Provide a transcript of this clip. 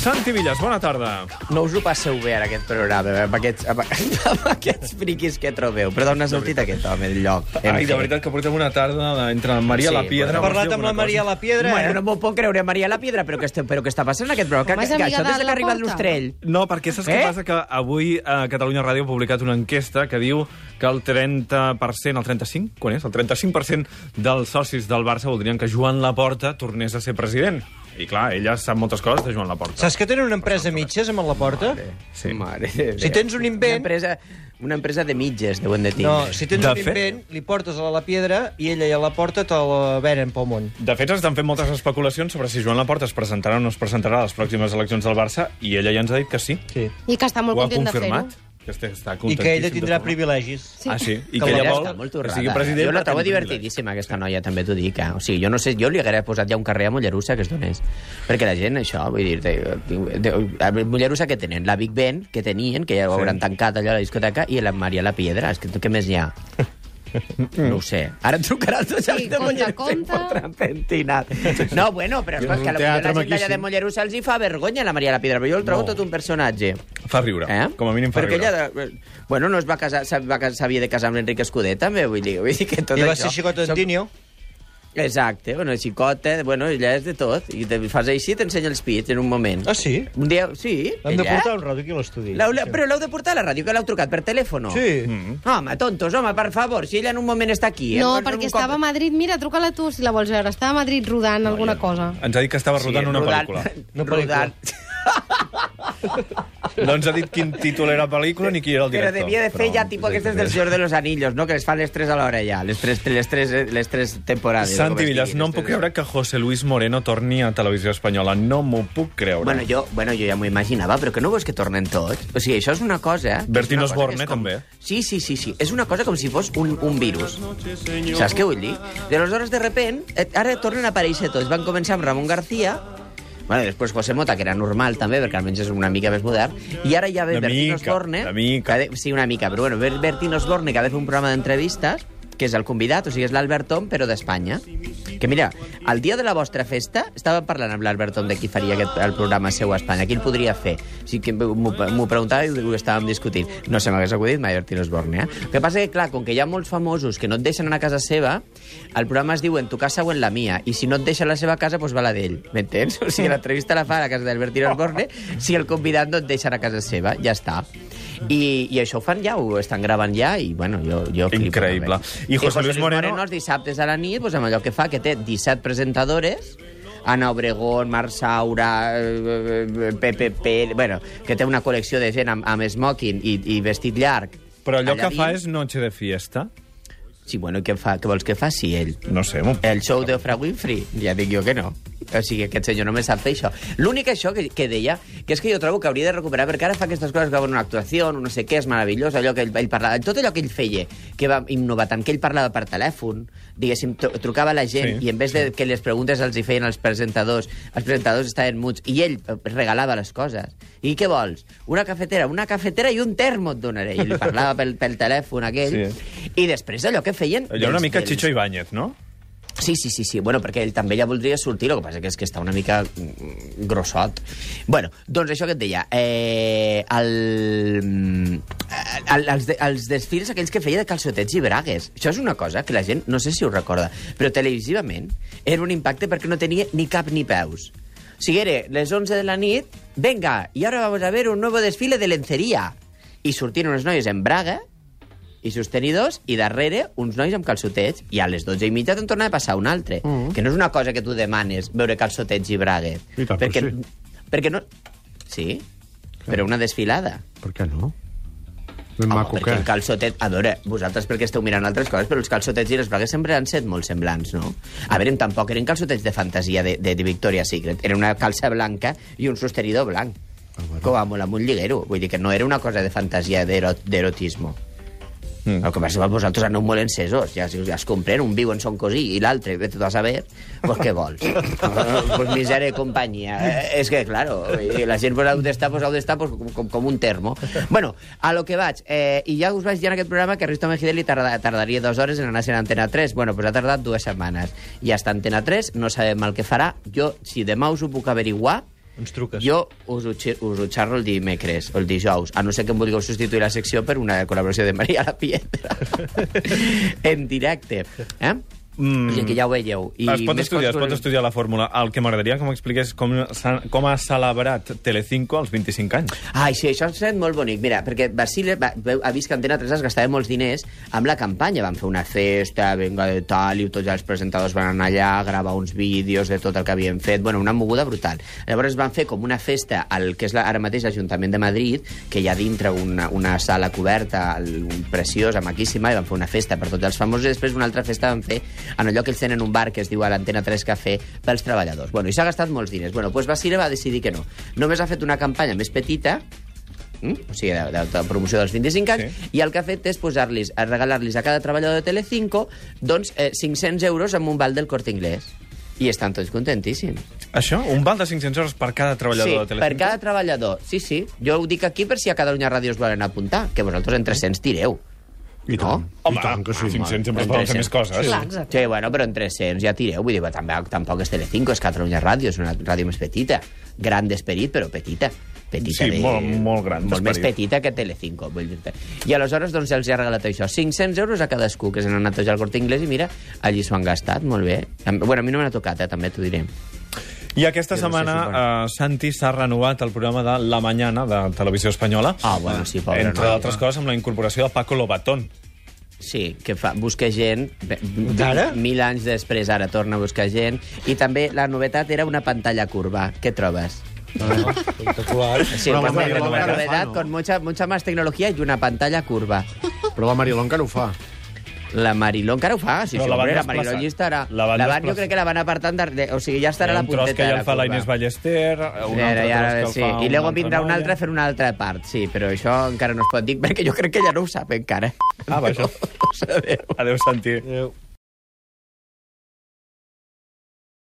Santi Villas, bona tarda. No us ho passeu bé en aquest programa, amb aquests, amb, amb aquests friquis que trobeu. Però d'on ha sortit aquest home, del lloc? Ai, de veritat que portem una tarda de- entre la Maria Sí, la Piedra... podem- vols dir Parlat amb la alguna Maria cosa? la Piedra. eh? Bueno, no m'ho puc creure, Maria la Piedra, però què, este, però què està passant en aquest programa? Home, és Que, que amiga això de des que la ha arribat Porta. l'Ostrell. No, perquè saps eh? què Eh? passa? Que avui a Catalunya Ràdio ha publicat una enquesta que diu que el 30%, el 35%, quan és? El 35% dels socis del Barça voldrien que Joan Laporta tornés a ser president. I clar, ella sap moltes coses de Joan Laporta. Saps que tenen una empresa a mitges amb la porta? Sí. Mare de Déu. Si tens un invent- Una empresa, una empresa de mitges, deuen de tindre. No, si tens De un fet- invent, li portes a la Piedra i ella i a la porta te la venen pel món. De fet, estan fent moltes especulacions sobre si Joan Laporta es presentarà o no es presentarà a les pròximes eleccions del Barça, i ella ja ens ha dit que sí. Sí. I que està molt Ho ha content de fer-ho. confirmat. Que està, està I que contentíssim ella de tindrà formar- privilegis. Ah, sí? I Que que la ella Piedra vol està molt que torrada. eh? sigui president... Jo la per trobo tenir divertidíssima, aquesta noia, també t'ho dic. Eh? O sigui, jo no sé, jo li hagués posat ja un carrer a Mollerussa que es donés. Perquè la gent, això, vull dir, de, de, de, a Mollerussa que tenen? La Big Ben, que tenien, que ja ho Sí. hauran tancat allò a la discoteca, i la Maria la Piedra, és que què més hi ha? No ho sé. Ara em trucaran tots els Sí, de compte, Mollerussa i compte. fotran pentinat. No, bueno, però És escolta, un que a la teatre millor la gent d'allà maquíssim. de Mollerussa els hi fa vergonya la Maria la Piedra, però jo el trobo tot un personatge. Fa riure. Eh? Com a mínim fa Perquè riure. ella... de- eh, Bueno, no es va casar... s'ha- va cas- S'havia de casar amb l'Enric Escudé, també, vull dir, vull dir que tot I va això... ser xicot d'Antinio. Exacte, bueno, xicota, bueno, ella és de tot. I te fas així i t'ensenya els pits en un moment. Ah, sí? Un dia... Sí, L'hem de ella. portar un rato aquí a l'estudi. L'heu- l'heu- Però l'heu de portar a la ràdio, que l'heu trucat per telèfon. Sí. Home, tontos, home, per favor, si ella en un moment està aquí... eh, No, en un perquè cop- estava a Madrid. Mira, truca-la tu, si la vols veure. Estava a Madrid rodant alguna cosa. Ens ha dit que estava rodant una rodant- pel·lícula. Una rodant- No ens Doncs ha dit quin títol era la pel·lícula ni qui era el Però director. devia de fer ja tipus aquestes del Senyor de los Anillos, no? Que les fan les 3 a l'hora ja, les 3, les 3, les 3 temporades. com Santi es Villas, diguin, no les em puc tres. creure que José Luis Moreno torni a Televisió Espanyola. No m'ho puc creure. Bueno, jo, bueno, jo ja m'ho imaginava, però que no veus que tornen tots? O sigui, això és una cosa... eh? Bertín És una cosa Osborne, que és com... també. Sí, sí, sí, sí. És una cosa com si fos un, un virus. Saps què vull dir? I aleshores, de repent, eh, ara tornen a aparèixer tots. Van començar amb Ramon García, Bueno, després José Mota, que era normal també, perquè almenys és una mica més modern, i ara ja ve Una Bertín mica, Osborne... una mica. que ha de- Sí, una mica, però bueno, ve Bertín Osborne, que ha de fer un programa d'entrevistes, que és el convidat, o sigui, és l'Albert Tom, però d'Espanya. Que mira, el dia de la vostra festa estava parlant amb l'Albert Tom de qui faria aquest, el programa seu a Espanya, qui el podria fer. O sigui, que m'ho m'ho preguntava i ho estàvem discutint. No se m'hagués acudit mai Bertín Osborne, eh? El que passa que, clar, com que hi ha molts famosos que no et deixen anar a casa seva, el programa es diu en tu casa o en la mia, i si no et deixa a la seva casa, doncs va la d'ell, m'entens? O sigui, l'entrevista la fa a la casa d'Albertín Osborne, si el convidat no et deixa anar a casa seva, ja està. I, I això ho fan ja, ho estan gravant ja, i bueno, jo... jo flipo Eh, Increïble. també. I José Luis Moreno- els dissabtes a la nit, doncs amb allò que fa, que té 17 presentadores, Ana Obregón, Mar Saura, eh, eh, Pepe Pérez... Bueno, que té una col·lecció de gent amb, amb smoking i, i vestit llarg. Però allò Allà que fa dins- és noche de fiesta. Sí, bueno, què, fa, què vols que faci ell? No sé, m'ho... El show de Oprah Winfrey? Ja dic jo que no. O sigui, aquest senyor només sap fer això. L'únic això que, que deia, que és que jo trobo que hauria de recuperar, perquè ara fa aquestes coses, grava una actuació, un no sé què, és meravellós, allò que ell, ell parlava, tot allò que ell feia, que va innovar tant, que ell parlava per telèfon, diguéssim, tru- trucava a la gent, Sí. sí. i en vez de que les preguntes els hi feien els presentadors, els presentadors estaven muts, i ell eh, regalava les coses. I què vols? Una cafetera, una cafetera i un termo et donaré. I li parlava pel, pel telèfon aquell. Sí. I després allò que feien... Allò una dels- mica dels- Chicho Ibáñez, no? Sí, sí, sí, sí. Bueno, perquè ell també ja voldria sortir, el que passa que és que està una mica mm, grossot. Bueno, doncs això que et deia. Eh, el, mm, el, els, de, els desfils aquells que feia de calçotets i bragues. Això és una cosa que la gent, no sé si ho recorda, però televisivament era un impacte perquè no tenia ni cap ni peus. O sigui, era les 11 de la nit, venga, i ara vamos a ver un nuevo desfile de lencería. I sortien unes noies en braga, i sostenidors, i darrere uns nois amb calçotets, i a les 12 i mitja te'n torna a passar un altre. Mm. Que no és una cosa que tu demanes, veure calçotets i bragues. I tant que perquè, sí. perquè no... Sí? Però una desfilada. Per què no? Ben Home, maco perquè que... el calçotet... A veure, vosaltres perquè esteu mirant altres coses, però els calçotets i les bragues sempre han set molt semblants, no? A veure, tampoc eren calçotets de fantasia de, de, de Victoria's Secret. Era una calça blanca i un sostenidor blanc. Ah, bueno. Com a molt amb un lliguero. Vull dir que no era una cosa de fantasia d'ero- d'erotisme. Mm. El que passa és que vosaltres aneu molt encesos. Ja, ja es compren, un viu en son cosí i l'altre, vete tu a saber, pues què vols? pues misèria i companyia. Eh, és que, claro, i la gent pues, heu d'estar, pues, heu d'estar pues, com- com, com un termo. Bueno, a lo que vaig, eh, i ja us vaig dir en aquest programa que Risto Mejideli tarda, tardaria dues hores en anar a Antena 3. Bueno, pues ha tardat dues setmanes. I està a Antena 3, no sabem el que farà. Jo, si demà us ho puc averiguar, Ens truques. Jo us ho, xer- us ho xerro el dimecres, o el dijous, a no ser que em vulgueu substituir la secció per una col·laboració de Maria la Pietra. en directe. Eh? Mm. O sigui que ja ho veieu. I Ah, es pot més estudiar, es coses- pot estudiar la fórmula. El que m'agradaria que m'expliqués com, s'ha- com ha celebrat Telecinco als 25 anys. Ai, sí, això ha estat molt bonic. Mira, perquè Basile va, veu- ha vist que Antena 3 es gastava molts diners amb la campanya. Van fer una festa, venga de tal, i tots els presentadors van anar allà a gravar uns vídeos de tot el que havien fet. Bueno, una moguda brutal. Llavors van fer com una festa al que és la, ara mateix l'Ajuntament de Madrid, que hi ha dintre una, una sala coberta al- un- preciosa, maquíssima, i van fer una festa per tots els famosos, i després una altra festa van fer en allò que ells tenen un bar que es diu a l'Antena 3 Cafè pels treballadors. Bueno, i s'ha gastat molts diners. Bueno, doncs Basile va decidir que no. Només ha fet una campanya més petita, Mm? o sigui, de, de, de promoció dels 25 anys, sí. i el que ha fet és posar-los, a regalar-los a cada treballador de Telecinco doncs, eh, 500 euros amb un val del Corte Inglés. I estan tots contentíssims. Això? Un val de 500 euros per cada treballador de sí, Telecinco? per cada treballador. Sí, sí. Jo ho dic aquí per si a Catalunya Ràdio us volen apuntar, que vosaltres en 300 tireu. I tant. Home, I tant que sí, 500 home. sempre es poden fer més coses. Clar, exacte. Sí, bueno, però en 300 ja tireu. Vull dir, va, tampoc, tampoc és Telecinco, és Catalunya Ràdio, és una ràdio més petita. Gran d'esperit, però petita. Petita Sí, de... molt- molt gran Molt més d'esperit. petita que Telecinco, vull dir-te. I aleshores, doncs, els hi ha regalat això. 500 euros a cadascú, que se n'han anat tots al Corte Inglés, i mira, allí s'ho han gastat, molt bé. Am- Bueno, a mi no m'han tocat, eh, també t'ho diré. I aquesta Jo no sé setmana si quan. eh, Santi s'ha renovat el programa de La Mañana de Televisió Espanyola. Ah, bueno, sí, pobre Entre noi, d'altres coses, amb la incorporació de Paco Lobatón. Sí, que fa, busca gent... bé, D'ara? Mil anys després, ara torna a buscar gent. I també la novetat era una pantalla curva. Què trobes? Ah, espectacular. Sí, Però pues mira, la María una Longa no novedad fa, ¿no? con mucha, mucha más tecnología y una pantalla curva. Però la Mariló encara ho fa. La Mariló encara ho fa, sí, Però sí, la van hombre, la desplaçar. Mariló allí estarà. La La van van, jo desplaçar. crec que la van apartant, de, de, o sigui, ja estarà Hi ha a un la tros punteta que de ja la el fa la curva. Inés Ballester, un Ara, altre ja, ara, tros que sí. el fa I una luego altra vindrà una noia. altra a fer una altra part, sí, però això encara no es pot dir, perquè jo crec que ja no ho sap encara. Ah, vaja. No ho sabeu. Adéu, Santi. Adéu.